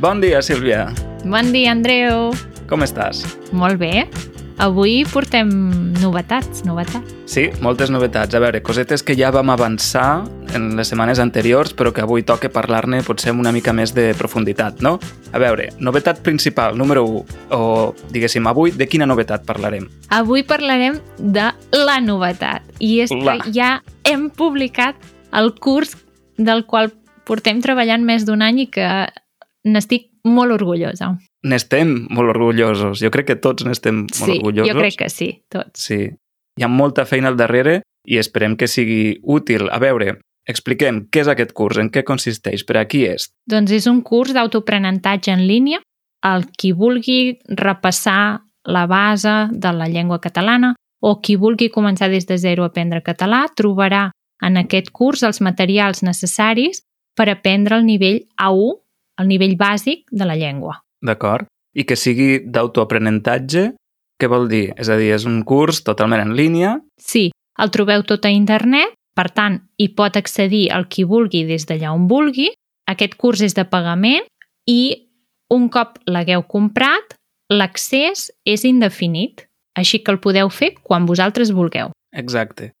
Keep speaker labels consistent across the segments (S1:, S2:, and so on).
S1: Bon dia, Sílvia.
S2: Bon dia, Andreu.
S1: Com estàs?
S2: Molt bé. Avui portem novetats, novetats.
S1: Sí, moltes novetats. A veure, cosetes que ja vam avançar en les setmanes anteriors, però que avui toca parlar-ne potser amb una mica més de profunditat, no? A veure, novetat principal, número 1, o diguéssim, avui de quina novetat parlarem?
S2: Avui parlarem de la novetat. I és
S1: La.
S2: que ja hem publicat el curs del qual portem treballant més d'un any i que n'estic molt orgullosa.
S1: N'estem molt orgullosos. Jo crec que tots n'estem molt
S2: sí,
S1: orgullosos.
S2: jo crec que sí, tots.
S1: Sí. Hi ha molta feina al darrere i esperem que sigui útil. A veure, expliquem què és aquest curs, en què consisteix, per a qui és.
S2: Doncs és un curs d'autoaprenentatge en línia. El qui vulgui repassar la base de la llengua catalana o qui vulgui començar des de zero a aprendre català trobarà en aquest curs els materials necessaris per aprendre el nivell A1, el nivell bàsic de la llengua.
S1: D'acord. I que sigui d'autoaprenentatge, què vol dir? És a dir, és un curs totalment en línia.
S2: Sí, el trobeu tot a internet, per tant, hi pot accedir el qui vulgui des d'allà on vulgui. Aquest curs és de pagament i un cop l'hagueu comprat, l'accés és indefinit, així que el podeu fer quan vosaltres vulgueu.
S1: Exacte.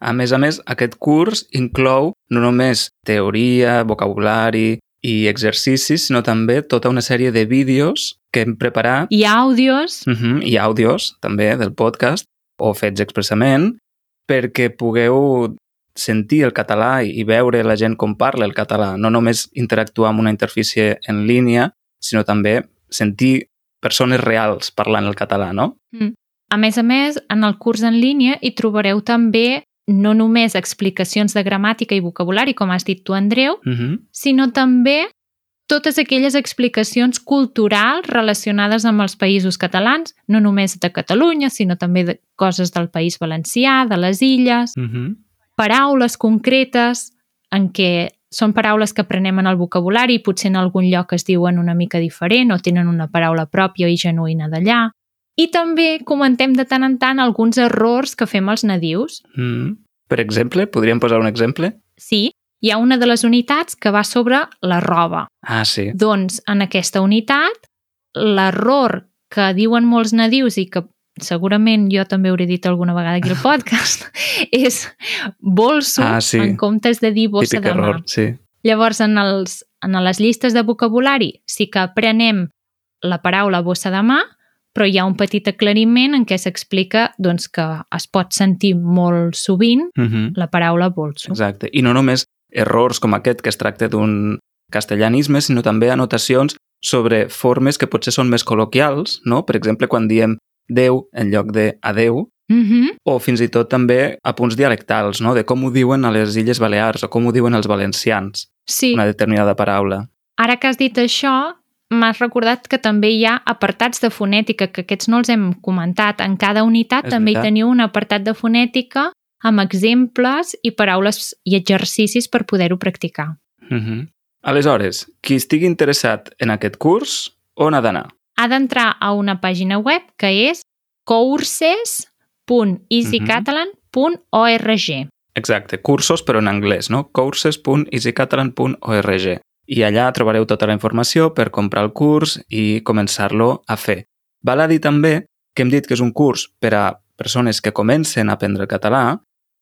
S1: A més a més, aquest curs inclou no només teoria, vocabulari i exercicis, sinó també tota una sèrie de vídeos que hem preparat
S2: Hi ha àudios,
S1: uh -huh, i àudios també del podcast o fets expressament perquè pugueu sentir el català i i veure la gent com parla el català, no només interactuar amb una interfície en línia, sinó també sentir persones reals parlant el català, no?
S2: A més a més, en el curs en línia hi trobareu també no només explicacions de gramàtica i vocabulari, com has dit tu, Andreu,
S1: Uh -huh.
S2: sinó també totes aquelles explicacions culturals relacionades amb els països catalans, no només de Catalunya, sinó també de coses del País Valencià, de les Illes,
S1: Uh -huh.
S2: paraules concretes en què són paraules que aprenem en el vocabulari i potser en algun lloc es diuen una mica diferent o tenen una paraula pròpia i genuïna d'allà. I també comentem de tant en tant alguns errors que fem els nadius.
S1: Uh -huh. Per exemple, podríem posar un exemple?
S2: Sí, hi ha una de les unitats que va sobre la roba.
S1: Ah, sí.
S2: Doncs en aquesta unitat, l'error que diuen molts nadius i que segurament jo també hauré dit alguna vegada aquí al podcast, és bolso
S1: Ah, sí.
S2: en comptes de dir bossa
S1: Típic
S2: de mà.
S1: error, sí.
S2: Llavors, en, els, en les llistes de vocabulari sí que aprenem la paraula bossa de mà, però hi ha un petit aclariment en què s'explica doncs, que es pot sentir molt sovint
S1: Uh -huh.
S2: la paraula bolso.
S1: Exacte. I no només errors com aquest, que es tracta d'un castellanisme, sinó també anotacions sobre formes que potser són més col·loquials, no? Per exemple, quan diem Déu en lloc de adeu,
S2: Mhm.
S1: o fins i tot també a punts dialectals, no? De com ho diuen a les Illes Balears o com ho diuen els valencians,
S2: Sí.
S1: una determinada paraula.
S2: Ara que has dit això, m'has recordat que també hi ha apartats de fonètica, que aquests no els hem comentat. En cada unitat
S1: És
S2: també hi
S1: veritat.
S2: teniu un apartat de fonètica amb exemples i paraules i exercicis per poder-ho practicar.
S1: Uh -huh. Aleshores, qui estigui interessat en aquest curs, on ha d'anar?
S2: Ha d'entrar a una pàgina web que és courses.easycatalan.org.
S1: Exacte, cursos però en anglès, no? courses.easycatalan.org i allà trobareu tota la informació per comprar el curs i començar-lo a fer. Val a dir també que hem dit que és un curs per a persones que comencen a aprendre el català,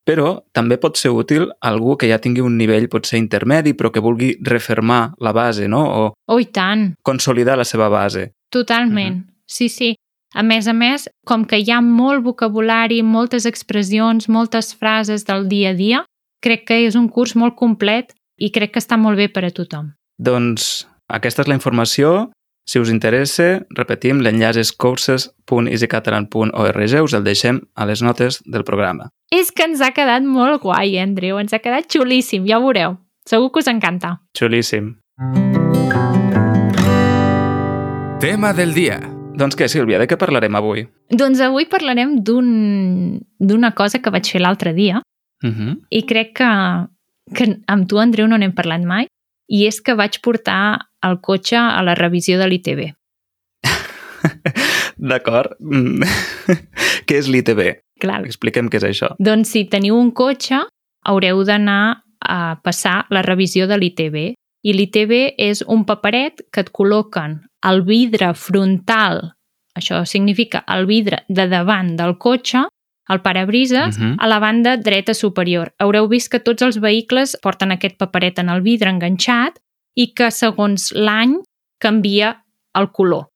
S1: però també pot ser útil a algú que ja tingui un nivell potser intermedi però que vulgui refermar la base, no? O
S2: Oh, i tant!
S1: consolidar la seva base.
S2: Totalment, sí, sí. A més a més, com que hi ha molt vocabulari, moltes expressions, moltes frases del dia a dia, crec que és un curs molt complet i crec que està molt bé per a tothom.
S1: Doncs aquesta és la informació. Si us interessa, repetim, l'enllaç és courses.easycatalan.org. Us el deixem a les notes del programa.
S2: És que ens ha quedat molt guai, eh, Andreu, ens ha quedat xulíssim, ja ho veureu. Segur que us encanta.
S1: Xulíssim.
S3: Tema del día.
S1: Doncs què, Sílvia, de què parlarem avui?
S2: Doncs avui parlarem d'un- d'una cosa que vaig fer l'altre dia
S1: Uh -huh.
S3: Mhm.
S2: i crec que, que amb tu, Andreu, no n'hem parlat mai, i és que vaig portar el cotxe a la revisió de l'ITB.
S1: D'acord. Mm. què és l'ITB?
S2: Clar,
S1: Expliquem què és això.
S2: doncs si teniu un cotxe, haureu d'anar a passar la revisió de l'ITB. I l'ITB és un paperet que et col·loquen al vidre frontal, això significa el vidre de davant del cotxe, el parabrises,
S1: Mhm.
S2: a la banda dreta superior. Haureu vist que tots els vehicles porten aquest paperet en el vidre enganxat i que segons l'any canvia el color.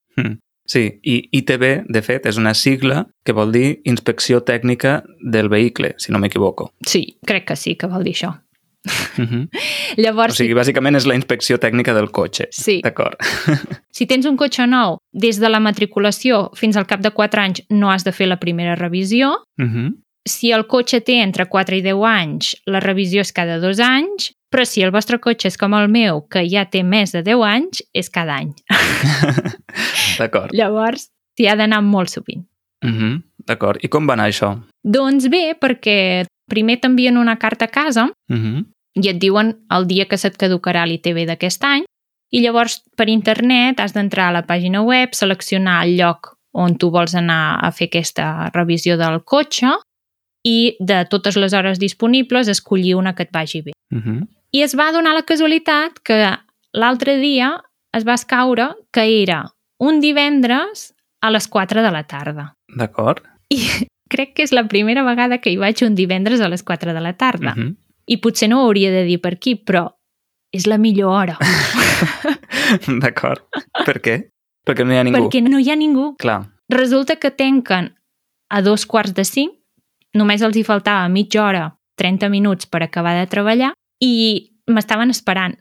S1: Sí, i ITB, de fet, és una sigla que vol dir Inspecció Tècnica del Vehicle, si no m'equivoco.
S2: Sí, crec que sí que vol dir això.
S1: Mhm. O
S2: Llavors,
S1: sigui, bàsicament és la inspecció tècnica del cotxe.
S2: sí,
S1: D'acord.
S2: Si tens un cotxe nou, des de la matriculació fins al cap de 4 anys no has de fer la primera revisió.
S1: Mhm.
S2: Si el cotxe té entre 4 i 10 anys, la revisió és cada 2 anys, però si el vostre cotxe és com el meu, que ja té més de 10 anys, és cada any.
S1: D'acord.
S2: Llavors, t'hi ha d'anar molt sovint.
S1: Mhm. D'acord. I com va anar això?
S2: Doncs bé, perquè primer t'envien una carta a casa
S1: Mhm.
S2: i et diuen el dia que se't caducarà l'ITB d'aquest any i llavors per internet has d'entrar a la pàgina web, seleccionar el lloc on tu vols anar a fer aquesta revisió del cotxe i de totes les hores disponibles escollir una que et vagi bé.
S1: Mhm.
S2: I es va donar la casualitat que l'altre dia es va escaure que era un divendres a les 4 de la tarda.
S1: D'acord.
S2: Crec que és la primera vegada que hi vaig un divendres a les 4 de la tarda.
S1: Mhm.
S2: I potser no ho hauria de dir per aquí, però és la millor hora,
S1: D'acord. Per què? Perquè no hi ha ningú.
S2: perquè no hi ha ningú.
S1: Clar.
S2: Resulta que tanquen a dos quarts de cinc, només els hi faltava mitja hora, 30 minuts per acabar de treballar, i m'estaven esperant.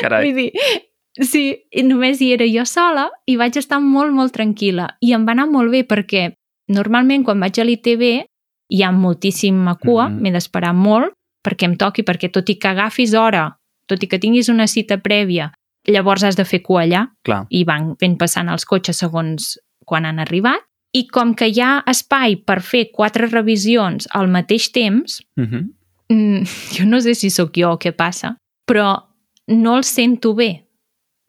S1: Carai.
S2: Vull dir, sí, i només hi era jo sola i vaig estar molt, molt tranquil·la. I em va anar molt bé perquè normalment quan vaig a l'ITB hi ha moltíssima cua,
S1: Mhm.
S2: m'he d'esperar molt perquè em toqui, perquè tot i que agafis hora, tot i que tinguis una cita prèvia, llavors has de fer cua allà
S1: Clar.
S2: i van fent passant els cotxes segons quan han arribat. I com que hi ha espai per fer quatre revisions al mateix temps,
S1: Mhm.
S2: mm, jo no sé si sóc jo o què passa, però no el sento bé,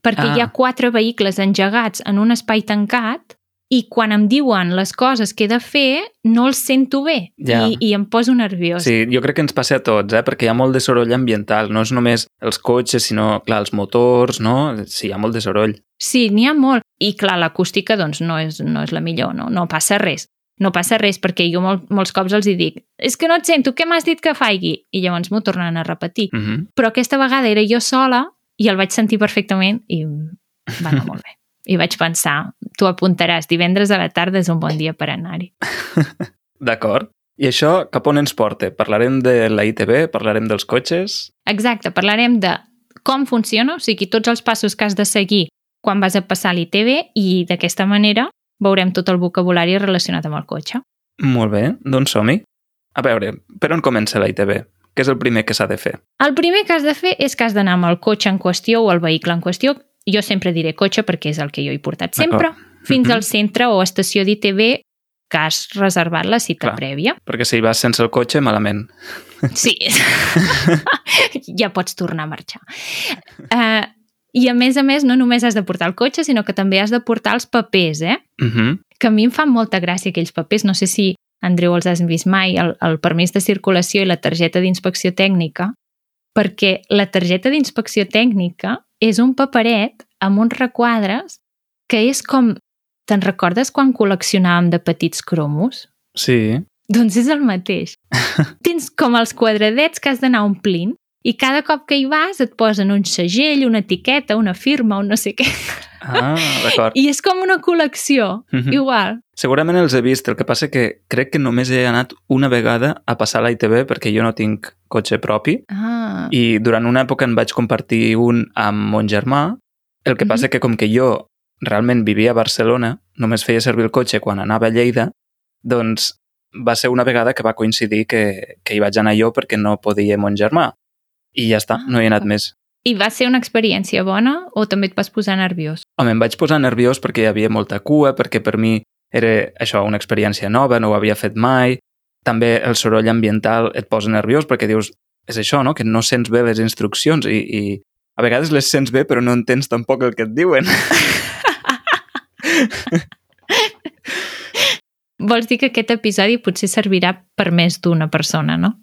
S2: perquè
S1: Ah.
S2: ah. hi ha quatre vehicles engegats en un espai tancat i quan em diuen les coses que he de fer, no els sento bé
S1: Ja.
S2: i, i em poso nerviós.
S1: Sí, jo crec que ens passa a tots, eh? perquè hi ha molt de soroll ambiental, no és només els cotxes, sinó, clar, els motors, no? Sí, hi ha molt de soroll.
S2: Sí, n'hi ha molt. I clar, l'acústica doncs no és, no és la millor, no, no passa res. No passa res perquè jo mol, molts cops els hi dic és que no et sento, què m'has dit que faigui? I llavors m'ho tornen a repetir.
S1: Mhm.
S2: Però aquesta vegada era jo sola i el vaig sentir perfectament i va anar molt bé. I vaig pensar, tu apuntaràs, divendres a la tarda és un bon dia per anar-hi.
S1: D'acord. I això cap on ens porta? Parlarem de la ITB, parlarem dels cotxes...
S2: Exacte, parlarem de com funciona, o sigui, tots els passos que has de seguir quan vas a passar l'ITB i d'aquesta manera veurem tot el vocabulari relacionat amb el cotxe.
S1: Molt bé, doncs som-hi. A veure, per on comença la ITB? Què és el primer que s'ha de fer?
S2: El primer que has de fer és que has d'anar amb el cotxe en qüestió o el vehicle en qüestió. Jo sempre diré cotxe perquè és el que jo he portat sempre, fins
S1: Mhm.
S2: al centre o estació d'ITB que has reservat la cita
S1: Clar.
S2: prèvia.
S1: Perquè si vas sense el cotxe, malament.
S2: Sí. ja pots tornar a marxar. Uh, I a més a més, no només has de portar el cotxe, sinó que també has de portar els papers, eh?
S1: Uh -huh.
S2: Que a mi em fan molta gràcia aquells papers. No sé si, Andreu, els has vist mai, el, el permís de circulació i la targeta d'inspecció tècnica, perquè la targeta d'inspecció tècnica és un paperet amb uns requadres que és com... Te'n recordes quan col·leccionàvem de petits cromos?
S1: Sí.
S2: Doncs és el mateix. Tens com els quadradets que has d'anar omplint i cada cop que hi vas et posen un segell, una etiqueta, una firma o no sé què.
S1: Ah, d'acord.
S2: I és com una col·lecció,
S1: Mhm.
S2: igual.
S1: Segurament els he vist, el que passa que crec que només he anat una vegada a passar la ITB perquè jo no tinc cotxe propi
S2: Ah,
S1: i durant una època en vaig compartir un amb mon germà, el que
S2: Mhm.
S1: passa que com que jo realment vivia a Barcelona, només feia servir el cotxe quan anava a Lleida, doncs va ser una vegada que va coincidir que, que hi vaig anar jo perquè no podia mon germà. I ja està, no hi he anat més.
S2: I va ser una experiència bona o també et vas posar nerviós?
S1: Home, em vaig posar nerviós perquè hi havia molta cua, perquè per mi era això una experiència nova, no ho havia fet mai. També el soroll ambiental et posa nerviós perquè dius, és això, no? Que no sents bé les instruccions i, i a vegades les sents bé però no entens tampoc el que et diuen.
S2: Vols dir que aquest episodi potser servirà per més d'una persona, no?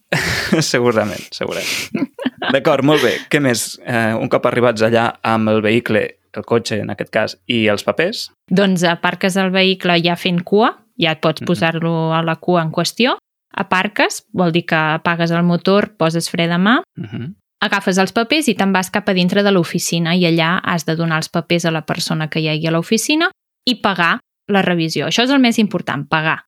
S1: segurament, segurament. D'acord, molt bé. Què més? Eh, un cop arribats allà amb el vehicle, el cotxe en aquest cas, i els papers,
S2: Doncs aparques el vehicle ja fent cua, ja et pots
S1: Mhm.
S2: posar-lo a la cua en qüestió. Aparques, vol dir que apagues el motor, poses fre de mà,
S1: uh -huh.
S2: agafes els papers i te'n vas cap a dintre de l'oficina i allà has de donar els papers a la persona que hi hagi a l'oficina i pagar la revisió. Això és el més important, pagar.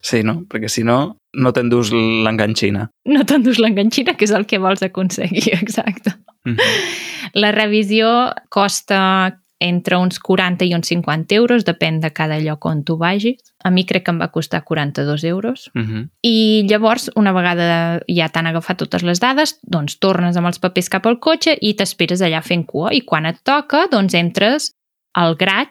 S1: sí, no? Perquè si no, no t'endús l'enganxina.
S2: No t'endús l'enganxina, que és el que vols aconseguir, exacte.
S1: Uh -huh.
S2: La revisió costa entre uns 40 i uns 50 euros, depèn de cada lloc on tu vagis. A mi crec que em va costar 42 euros.
S1: Uh -huh.
S2: I llavors, una vegada ja t'han agafat totes les dades, doncs tornes amb els papers cap al cotxe i t'esperes allà fent cua. I quan et toca, doncs entres al graig,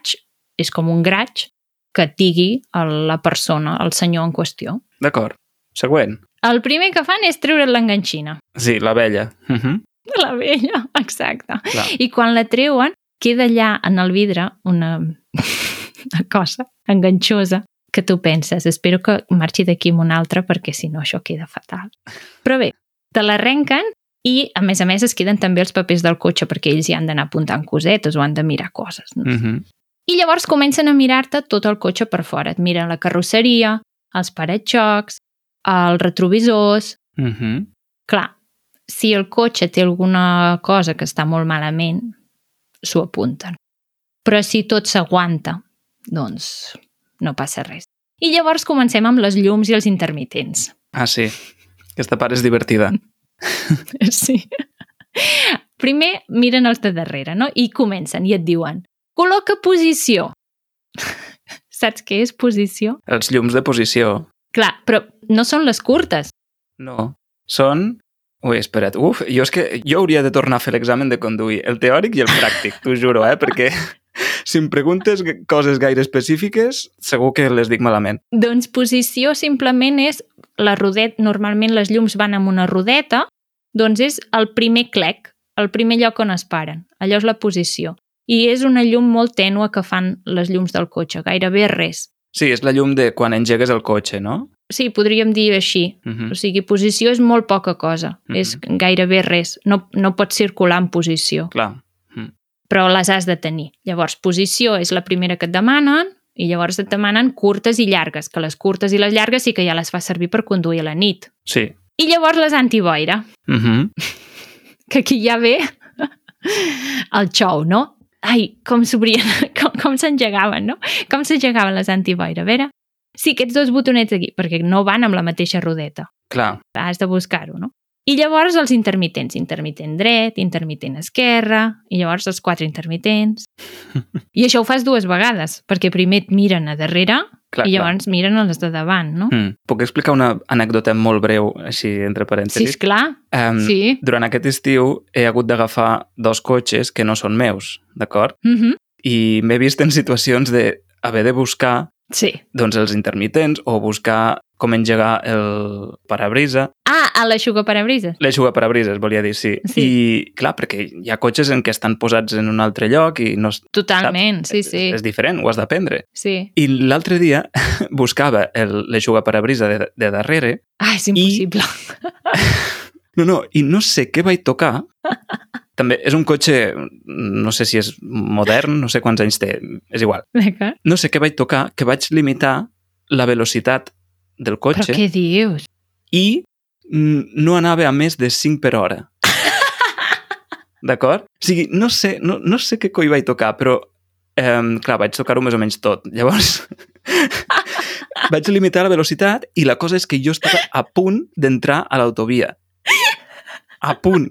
S2: és com un graig, que et digui el- la persona, el senyor en qüestió.
S1: D'acord. Següent.
S2: El primer que fan és treure't l'enganxina.
S1: Sí, la vella. Uh -huh.
S2: La vella, exacte.
S1: Clar.
S2: I quan la treuen, queda allà en el vidre una, una cosa enganxosa que tu penses, espero que marxi d'aquí amb una altra perquè si no això queda fatal. Però bé, te l'arrenquen i a més a més es queden també els papers del cotxe perquè ells hi han d'anar apuntant cosetes o han de mirar coses. No?
S1: Uh -huh.
S2: I llavors comencen a mirar-te tot el cotxe per fora. Et miren la carrosseria, els paretxocs, els retrovisors,
S1: Uh -huh.
S2: Clar, si el cotxe té alguna cosa que està molt malament, s'ho apunten. Però si tot s'aguanta, doncs no passa res. I llavors comencem amb les llums i els intermitents.
S1: Ah, sí. Aquesta part és divertida.
S2: Sí. Primer miren els de darrere, no? I comencen i et diuen, col·loca posició. Saps què és posició?
S1: Els llums de posició.
S2: Clar, però no són les curtes.
S1: No. Són... Ui, espera't. Uf, jo és que jo hauria de tornar a fer l'examen de conduir, el teòric i el pràctic, t'ho juro, eh? Perquè si em preguntes g- coses gaire específiques, segur que les dic malament.
S2: Doncs posició simplement és la rodeta, normalment les llums van amb una rodeta, doncs és el primer clec, el primer lloc on es paren. Allò és la posició. I és una llum molt tènua que fan les llums del cotxe, gairebé res.
S1: Sí, és la llum de quan engegues el cotxe, no?
S2: Sí, podríem dir així.
S1: Uh
S2: O
S1: -huh.
S2: sigui, posició és molt poca cosa,
S1: Mhm.
S2: és gairebé res. No, no pots circular en posició,
S1: Clar.
S2: però les has de tenir. Llavors, posició és la primera que et demanen i llavors et demanen curtes i llargues, que les curtes i les llargues sí que ja les fa servir per conduir a la nit.
S1: Sí.
S2: I llavors les antiboira,
S1: Uh -huh.
S2: que aquí ja ve el xou, no? Ai, com s'obrien, com, com s'engegaven, no? Com s'engegaven les antiboira, a veure? Sí, aquests dos botonets aquí, perquè no van amb la mateixa rodeta.
S1: Clar.
S2: Has de buscar-ho, no? I llavors els intermitents, intermitent dret, intermitent esquerra, i llavors els quatre intermitents. I això ho fas dues vegades, perquè primer et miren a darrere
S1: Clar,
S2: i llavors miren els de davant, no?
S1: Clar. Mm. Puc explicar una anècdota molt breu, així, entre
S2: Sí,
S1: parèntesis?
S2: esclar,
S1: Um,
S2: sí.
S1: Durant aquest estiu he hagut d'agafar dos cotxes que no són meus, d'acord?
S2: Mhm,
S1: I m'he vist en situacions de haver de buscar
S2: Sí.
S1: doncs, els intermitents o buscar com engegar el parabrisa.
S2: Ah, a l'aixugaparabrises.
S1: L'eixuga parabrises, volia dir, sí.
S2: Sí.
S1: I, clar, perquè hi ha cotxes en què estan posats en un altre lloc i no és,
S2: Totalment, sí, sí,
S1: és diferent, ho has d'aprendre.
S2: sí.
S1: I l'altre dia buscava el- l'eixuga parabrisa de, de darrere
S2: Ah, és impossible.
S1: No, no, i no sé què vaig tocar. També és un cotxe, no sé si és modern, no sé quants anys té, és igual.
S2: D'acord.
S1: No sé què vaig tocar, que vaig limitar la velocitat del
S2: Però
S1: cotxe
S2: què dius?
S1: i mm, no anava a més de 5 per hora. D'acord? O sigui, no sé, no, no sé què coi vaig tocar, però, eh, clar, vaig tocar-ho més o menys tot. Llavors, vaig limitar la velocitat i la cosa és que jo estava a punt d'entrar a l'autovia. A punt.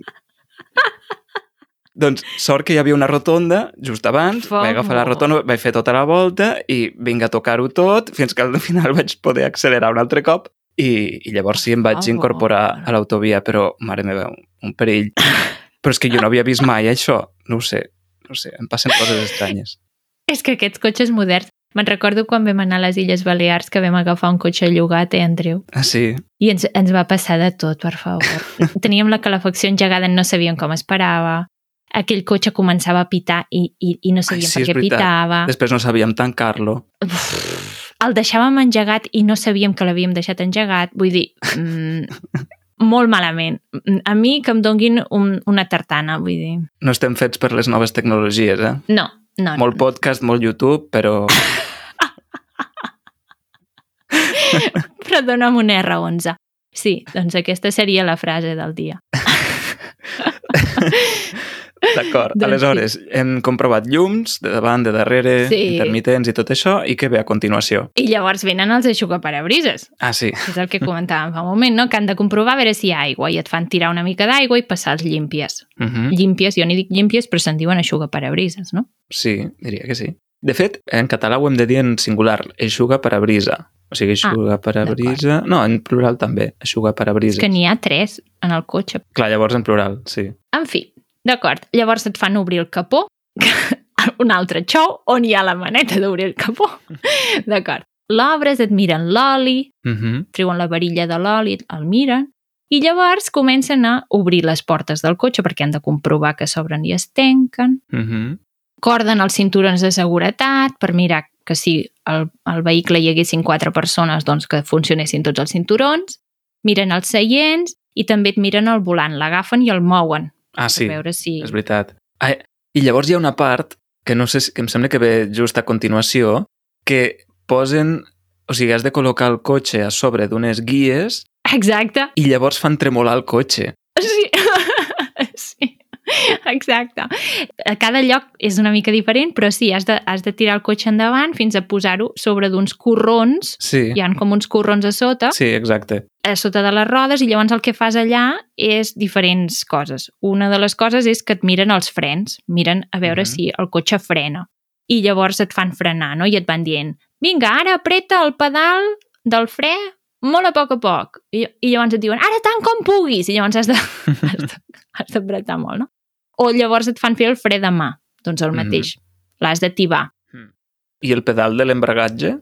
S1: Doncs sort que hi havia una rotonda just abans,
S2: Foc,
S1: vaig agafar la
S2: molt.
S1: rotonda, vaig fer tota la volta i vinc a tocar-ho tot, fins que al final vaig poder accelerar un altre cop i, i llavors sí, em vaig
S2: favor.
S1: incorporar a l'autovia, però, mare meva, un, un perill. Però és que jo no havia vist mai això, no ho sé, no ho sé, em passen coses estranyes.
S2: És que aquests cotxes moderns... Me'n recordo quan vam anar a les Illes Balears que vam agafar un cotxe llogat, eh, Andreu?
S1: Ah, sí?
S2: I ens, ens va passar de tot, per favor. Teníem la calefacció engegada, no sabíem com es parava. aquell cotxe començava a pitar i, i, i no sabíem
S1: sí, és
S2: per què
S1: veritat.
S2: pitava.
S1: Després no sabíem tancar-lo.
S2: El deixàvem engegat i no sabíem que l'havíem deixat engegat. Vull dir, mm, molt malament. Mm, A mi que em donguin un, una tartana, vull dir.
S1: No estem fets per les noves tecnologies, eh?
S2: No, no.
S1: Molt podcast, molt YouTube, però
S2: no. Però dona'm un R11. Sí, doncs aquesta seria la frase del dia.
S1: d'acord.
S2: Doncs sí.
S1: Aleshores, hem comprovat llums de davant, de darrere,
S2: Sí.
S1: intermitents i tot això, i què ve a continuació?
S2: I llavors venen els aixugaparabrisas.
S1: Ah, sí.
S2: que és el que comentàvem fa un moment, no? que han de comprovar a veure si hi ha aigua i et fan tirar una mica d'aigua i passar els llimpies.
S1: Uh -huh.
S2: Llimpies, jo n'hi dic llimpies, però se'n diuen aixugaparabrisas, no?
S1: Sí, diria que sí. De fet, en català ho hem de dir en singular, eixuga per a brisa. O sigui, eixuga per a
S2: Ah, d'acord.
S1: brisa... No, en plural també, eixuga per a brisa.
S2: És que n'hi ha tres en el cotxe.
S1: Clar, llavors en plural, sí.
S2: En fi, d'acord. Llavors et fan obrir el capó, un altre xou, on hi ha la maneta d'obrir el capó. D'acord. L'obres, et miren l'oli,
S1: Uh -huh.
S2: treuen la varilla de l'oli, el miren, i llavors comencen a obrir les portes del cotxe perquè han de comprovar que s'obren i es tanquen.
S1: Uh -huh.
S2: corden els cinturons de seguretat per mirar que si al, al vehicle hi haguessin quatre persones, doncs que funcionessin tots els cinturons, miren els seients i també et miren el volant, l'agafen i el mouen
S1: Ah, sí.
S2: per veure si...
S1: És veritat. Ah, I llavors hi ha una part que no sé, si- que em sembla que ve just a continuació, que posen... O sigui, has de col·locar el cotxe a sobre d'unes guies
S2: Exacte,
S1: i llavors fan tremolar el cotxe.
S2: sí. sí. Exacte. A cada lloc és una mica diferent, però sí, has de, has de tirar el cotxe endavant fins a posar-ho sobre d'uns corrons.
S1: Sí,
S2: Hi han com uns corrons a sota
S1: sí, exacte.
S2: a eh, sota de les rodes i llavors el que fas allà és diferents coses. Una de les coses és que et miren els frens, miren a veure
S1: Mhm.
S2: si el cotxe frena. I llavors et fan frenar, no? I et van dient, vinga, ara apreta el pedal del fre molt a poc a poc. I, i llavors et diuen, ara tant com puguis. I llavors has de, has de, has d'apretar molt, no? O llavors et fan fer el fre de mà. Doncs el
S1: Mhm.
S2: mateix. L'has d'ativar.
S1: I el pedal de l'embragatge?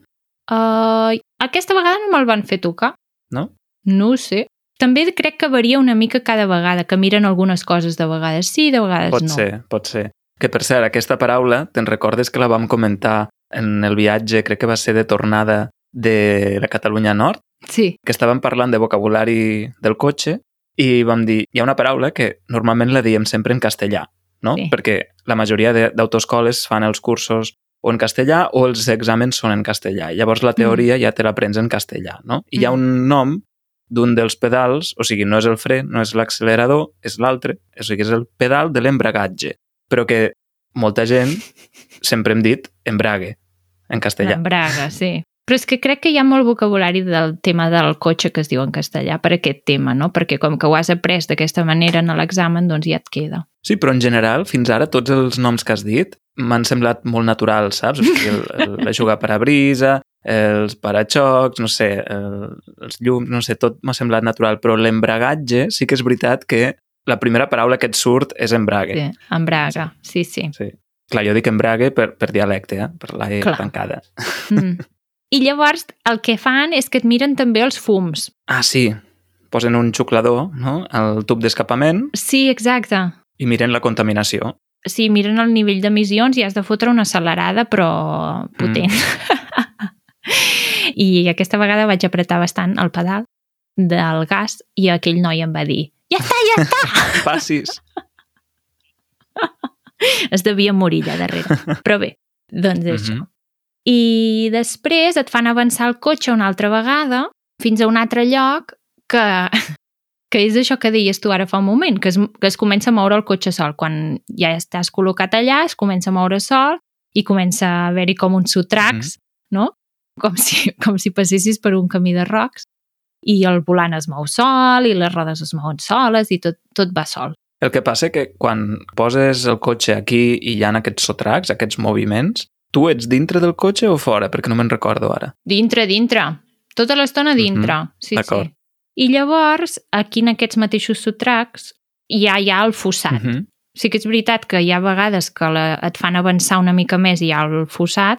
S2: Uh, aquesta vegada no me'l van fer tocar.
S1: No?
S2: No ho sé. També crec que varia una mica cada vegada, que miren algunes coses de vegades sí, de vegades
S1: Pot
S2: no.
S1: ser, pot ser. Que, per cert, aquesta paraula, te'n recordes que la vam comentar en el viatge, crec que va ser de tornada de la Catalunya Nord?
S2: Sí.
S1: que estàvem parlant de vocabulari del cotxe i vam dir, hi ha una paraula que normalment la diem sempre en castellà, no?
S2: Sí.
S1: Perquè la majoria de- d'autoscoles fan els cursos o en castellà o els exàmens són en castellà. Llavors la teoria ja te l'aprens en castellà, no? I hi ha
S2: Mm.
S1: un nom d'un dels pedals, o sigui, no és el fre, no és l'accelerador, és l'altre, o sigui, és el pedal de l'embragatge, però que molta gent sempre hem dit embrague en castellà.
S2: L'embraga, sí. Però és que crec que hi ha molt vocabulari del tema del cotxe que es diu en castellà per aquest tema, no? Perquè com que ho has après d'aquesta manera en l'examen, doncs ja et queda.
S1: Sí, però en general, fins ara, tots els noms que has dit m'han semblat molt naturals, saps? O sigui, el, el, la jugar per a brisa, els paraxocs, no sé, el, els llums, no sé, tot m'ha semblat natural, però l'embragatge sí que és veritat que la primera paraula que et surt és embrague.
S2: Sí, embraga, sí, sí.
S1: Clar, jo dic embrague per, per dialecte, eh? per la E
S2: Clar.
S1: tancada.
S2: Mm. I llavors el que fan és que et miren també els fums.
S1: Ah, sí, posen un xuclador no? al tub d'escapament
S2: Sí, exacte.
S1: i miren la contaminació.
S2: sí, miren el nivell d'emissions i has de fotre una accelerada, però potent. I aquesta vegada vaig apretar bastant el pedal del gas i aquell noi em va dir ja està, ja està!
S1: Passis!
S2: Es devia morir allà darrere. Però bé, doncs això.
S1: Mhm.
S2: I després et fan avançar el cotxe una altra vegada fins a un altre lloc que, que és això que deies tu ara fa un moment, que es, que es comença a moure el cotxe sol. Quan ja estàs col·locat allà, es comença a moure sol i comença a haver-hi com uns sotracs, no? Com si, com si passessis per un camí de rocs i el volant es mou sol i les rodes es mouen soles i tot, tot va sol.
S1: El que passa que quan poses el cotxe aquí i hi ha aquests sotracs, aquests moviments, tu ets dintre del cotxe o fora? Perquè no me'n recordo ara.
S2: Dintre, dintre. Tota l'estona dintre. Mm -hmm. Sí,
S1: D'acord.
S2: sí. I llavors, aquí en aquests mateixos sotracs, ja hi ha el fossat. Mm -hmm.
S1: -huh.
S2: Sí que és veritat que hi ha vegades que la, et fan avançar una mica més i hi ha el fossat,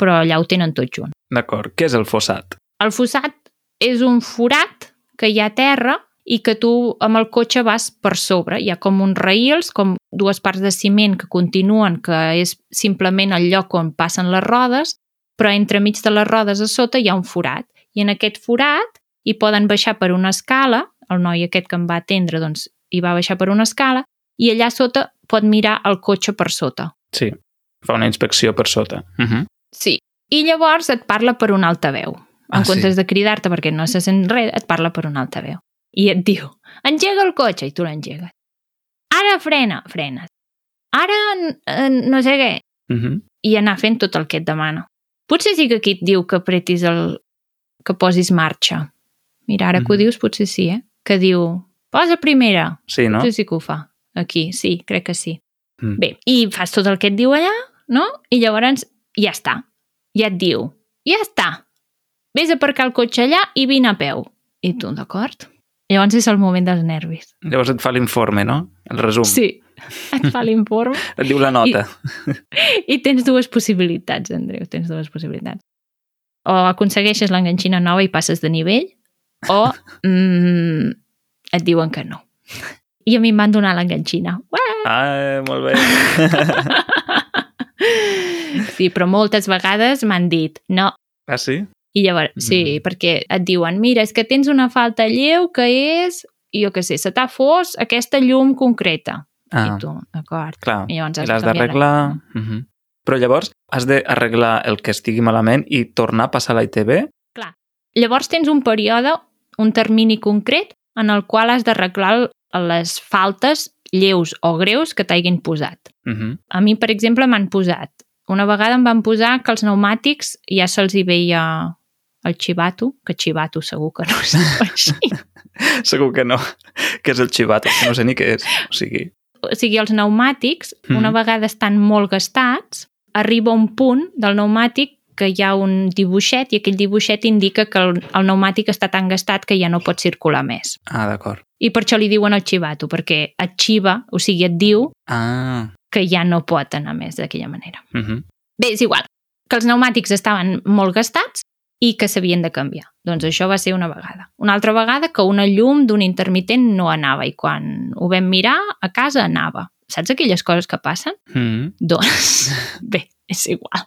S2: però allà ho tenen tot junt.
S1: D'acord. Què és el fossat?
S2: El fossat és un forat que hi ha a terra i que tu amb el cotxe vas per sobre. Hi ha com uns raïls, com dues parts de ciment que continuen, que és simplement el lloc on passen les rodes, però entremig de les rodes a sota hi ha un forat. I en aquest forat hi poden baixar per una escala, el noi aquest que em va atendre doncs, hi va baixar per una escala, i allà sota pot mirar el cotxe per sota.
S1: Sí, fa una inspecció per sota. Uh
S2: Mhm.
S1: -huh.
S2: Sí. I llavors et parla per un altaveu. En
S1: Ah, sí.
S2: comptes de cridar-te perquè no se sent res, et parla per un altaveu. I et diu, engega el cotxe, i tu l'engegues. Ara frena, frenes. Ara n- n- no sé què,
S1: Uh -huh.
S2: i anar fent tot el que et demana. Potser sí que aquí et diu que apretis el... que posis marxa. Mira, ara mm -hmm. que ho
S1: Mhm.
S2: dius, potser sí, eh? Que diu, posa primera.
S1: Sí, no?
S2: No? Potser sí que ho fa. Aquí, sí, crec que sí.
S1: Mm.
S2: Mm. Bé, i fas tot el que et diu allà, no? I llavors ja està. Ja et diu, ja està. Vés a aparcar el cotxe allà i vine a peu. I tu, d'acord? Llavors és el moment dels nervis.
S1: Llavors et fa l'informe, no? El resum.
S2: Sí, et fa l'informe
S1: Et diu la nota.
S2: I tens dues possibilitats, Andreu, tens dues possibilitats. O aconsegueixes l'enganxina nova i passes de nivell, o mm, et diuen que no. I a mi em van donar l'enganxina. Uah!
S1: Ah, molt bé.
S2: Sí, però moltes vegades m'han dit no.
S1: Ah, sí?
S2: I llavors, sí,
S1: Mm.
S2: perquè et diuen, mira, és que tens una falta lleu que és, jo què sé, se t'ha fos aquesta llum concreta.
S1: Ah,
S2: I tu, d'acord.
S1: clar.
S2: I llavors
S1: I
S2: has
S1: l'has
S2: canviar la llum.
S1: d'arreglar... Uh -huh. Però llavors has d'arreglar el que estigui malament i tornar a passar a la ITV?
S2: Llavors tens un període, un termini concret, en el qual has d'arreglar el- les faltes lleus o greus que t'hagin posat.
S1: Uh -huh.
S2: A mi, per exemple, m'han posat. Una vegada em van posar que els pneumàtics ja se'ls hi veia el xivato, que xivato segur que no es diu així.
S1: Segur que no. Que és el xivat, que no sé ni què és. O sigui...
S2: O sigui, els pneumàtics,
S1: Mhm.
S2: una vegada estan molt gastats, arriba un punt del pneumàtic que hi ha un dibuixet i aquell dibuixet indica que el, el pneumàtic està tan gastat que ja no pot circular més.
S1: Ah, d'acord.
S2: I per això li diuen el xivato, perquè et xiva, o sigui, et diu
S1: Ah,
S2: que ja no pot anar més d'aquella manera.
S1: uh -huh.
S2: Bé, és igual, que els pneumàtics estaven molt gastats i que s'havien de canviar. Doncs això va ser una vegada. Una altra vegada que una llum d'un intermitent no anava i quan ho vam mirar a casa anava. Saps aquelles coses que passen?
S1: Uh -huh.
S2: Doncs bé, és igual.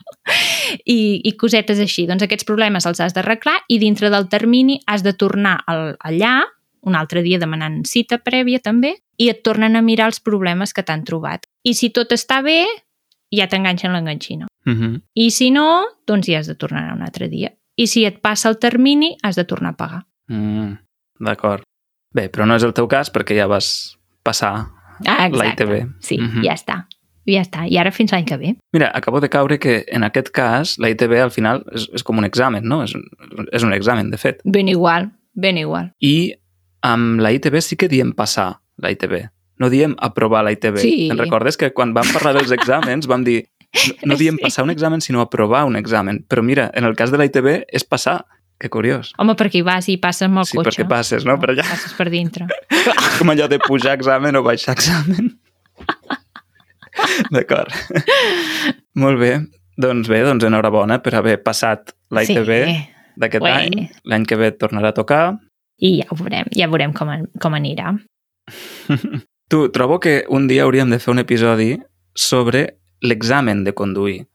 S2: I, i cosetes així. Doncs aquests problemes els has d'arreglar i dintre del termini has de tornar al, allà un altre dia demanant cita prèvia també i et tornen a mirar els problemes que t'han trobat. I si tot està bé, ja t'enganxen l'enganxina.
S1: Uh -huh.
S2: I si no, doncs ja has de tornar un altre dia. I si et passa el termini, has de tornar a pagar.
S1: Mm, D'acord. Bé, però no és el teu cas perquè ja vas passar
S2: Ah,
S1: la ITV.
S2: Sí,
S1: Mhm.
S2: ja està. Ja està. I ara fins l'any que ve.
S1: Mira, acabo de caure que en aquest cas la ITB al final és, és com un examen, no? És, un- és un examen, de fet.
S2: Ben igual, ben igual.
S1: I amb la ITB sí que diem passar la ITB. No diem aprovar la ITB.
S2: Sí.
S1: Te'n recordes que quan vam parlar dels exàmens vam dir no, no diem
S2: Sí.
S1: passar un examen, sinó aprovar un examen. Però mira, en el cas de la ITB és passar. Que curiós.
S2: Home, perquè hi vas i passes amb el
S1: sí,
S2: cotxe.
S1: perquè passes, no? Per allà.
S2: Passes per dintre.
S1: És com allò de pujar examen o baixar examen. D'acord. Molt bé. Doncs bé, doncs enhorabona per haver passat l'ITB sí. d'aquest
S2: Ué.
S1: any. L'any que ve et tornarà a tocar.
S2: I ja ho veurem, ja veurem com, an- com anirà.
S1: Tu, trobo que un dia hauríem de fer un episodi sobre l'examen de conduir,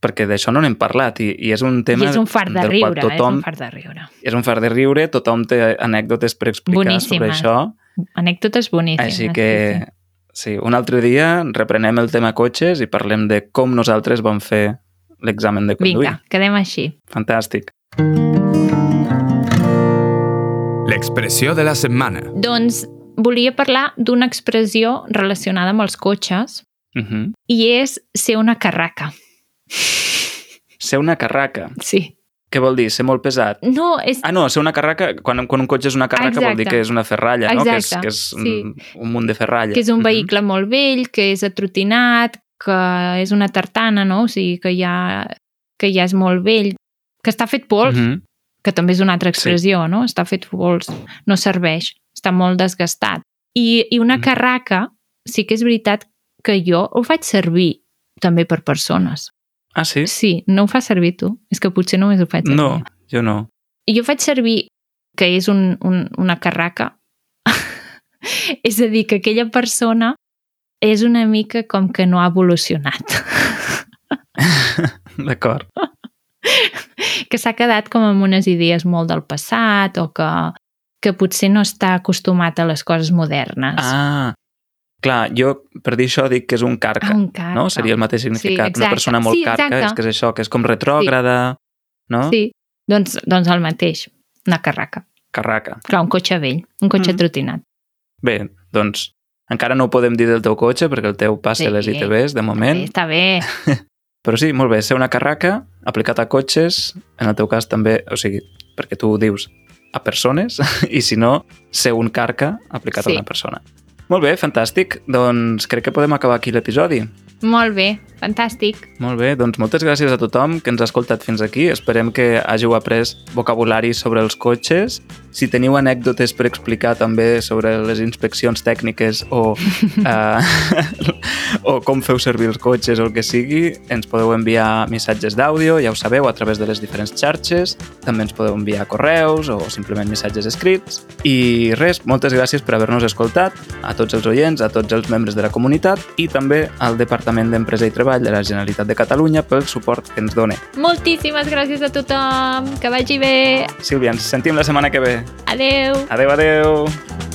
S1: perquè d'això no n'hem parlat i, i és un tema
S2: I és un fart de
S1: del
S2: riure, eh?
S1: qual tothom,
S2: és un fart de riure.
S1: és un fart de riure, tothom té anècdotes per explicar sobre
S2: Boníssimes.
S1: això.
S2: Anècdotes boníssimes.
S1: Així que, sí, un altre dia reprenem el tema cotxes i parlem de com nosaltres vam fer l'examen de
S2: sí, sí.
S1: conduir.
S2: Vinga, quedem així.
S1: Fantàstic.
S3: L'expressió de la setmana.
S2: Doncs volia parlar d'una expressió relacionada amb els cotxes
S1: Uh -huh.
S2: i és ser una carraca.
S1: Ser una carraca.
S2: Sí.
S1: Què vol dir? Ser molt pesat?
S2: No, és...
S1: Ah, no, ser una carraca... Quan, quan un cotxe és una carraca vol dir
S2: Exacte.
S1: que és una ferralla, no? Que és,
S2: Exacte,
S1: que és un,
S2: sí.
S1: un munt de ferralla.
S2: que és un
S1: Mhm.
S2: vehicle molt vell, que és atrotinat, que és una tartana, no? O sigui, que ja, que ja és molt vell, que està fet pols,
S1: Mhm.
S2: que també és una altra expressió, sí. no? Està fet vols, no serveix, està molt desgastat. I, i una
S1: Mhm.
S2: carraca, sí que és veritat que jo ho faig servir també per persones.
S1: Ah, sí?
S2: Sí, no ho fa servir tu, és que potser només ho faig servir.
S1: No, jo no.
S2: Jo faig servir que és un, un, una carraca És a dir, que aquella persona és una mica com que no ha evolucionat,
S1: D'acord.
S2: que s'ha quedat com amb unes idees molt del passat o que, que potser no està acostumat a les coses modernes.
S1: Ah, clar, jo per dir això dic que és un
S2: Ah,
S1: carca,
S2: un carca.
S1: no? Seria el mateix significat. una
S2: exacte.
S1: persona molt
S2: Sí,
S1: carca
S2: exacte.
S1: és que és això, que és com retrògrada, no?
S2: Sí, doncs, doncs el mateix, una carraca.
S1: Carraca.
S2: Clar, un cotxe vell, un cotxe
S1: Mhm.
S2: mm. trotinat.
S1: Bé, doncs encara no ho podem dir del teu cotxe perquè el teu passa
S2: Sí.
S1: a les ITBs de moment,
S2: Bé, està bé,
S1: Però sí, molt bé, ser una carraca aplicat a cotxes, en el teu cas també, o sigui, perquè tu ho dius a persones, i si no, ser un carca aplicat
S2: Sí.
S1: a una persona. Molt bé, fantàstic. Doncs crec que podem acabar aquí l'episodi.
S2: molt bé, fantàstic.
S1: Molt bé, doncs moltes gràcies a tothom que ens ha escoltat fins aquí. Esperem que hàgiu après vocabulari sobre els cotxes. Si teniu anècdotes per explicar també sobre les inspeccions tècniques o, eh, o com feu servir els cotxes o el que sigui, ens podeu enviar missatges d'àudio, ja ho sabeu, a través de les diferents xarxes. També ens podeu enviar correus o simplement missatges escrits. I res, moltes gràcies per haver-nos escoltat, a tots els oients, a tots els membres de la comunitat i també al Departament d'Empresa i Treball de la Generalitat de Catalunya pel suport que ens dona.
S2: Moltíssimes gràcies a tothom, que vagi bé,
S1: Sílvia, ens sentim la setmana que ve.
S2: adeu.
S1: Adeu, adeu!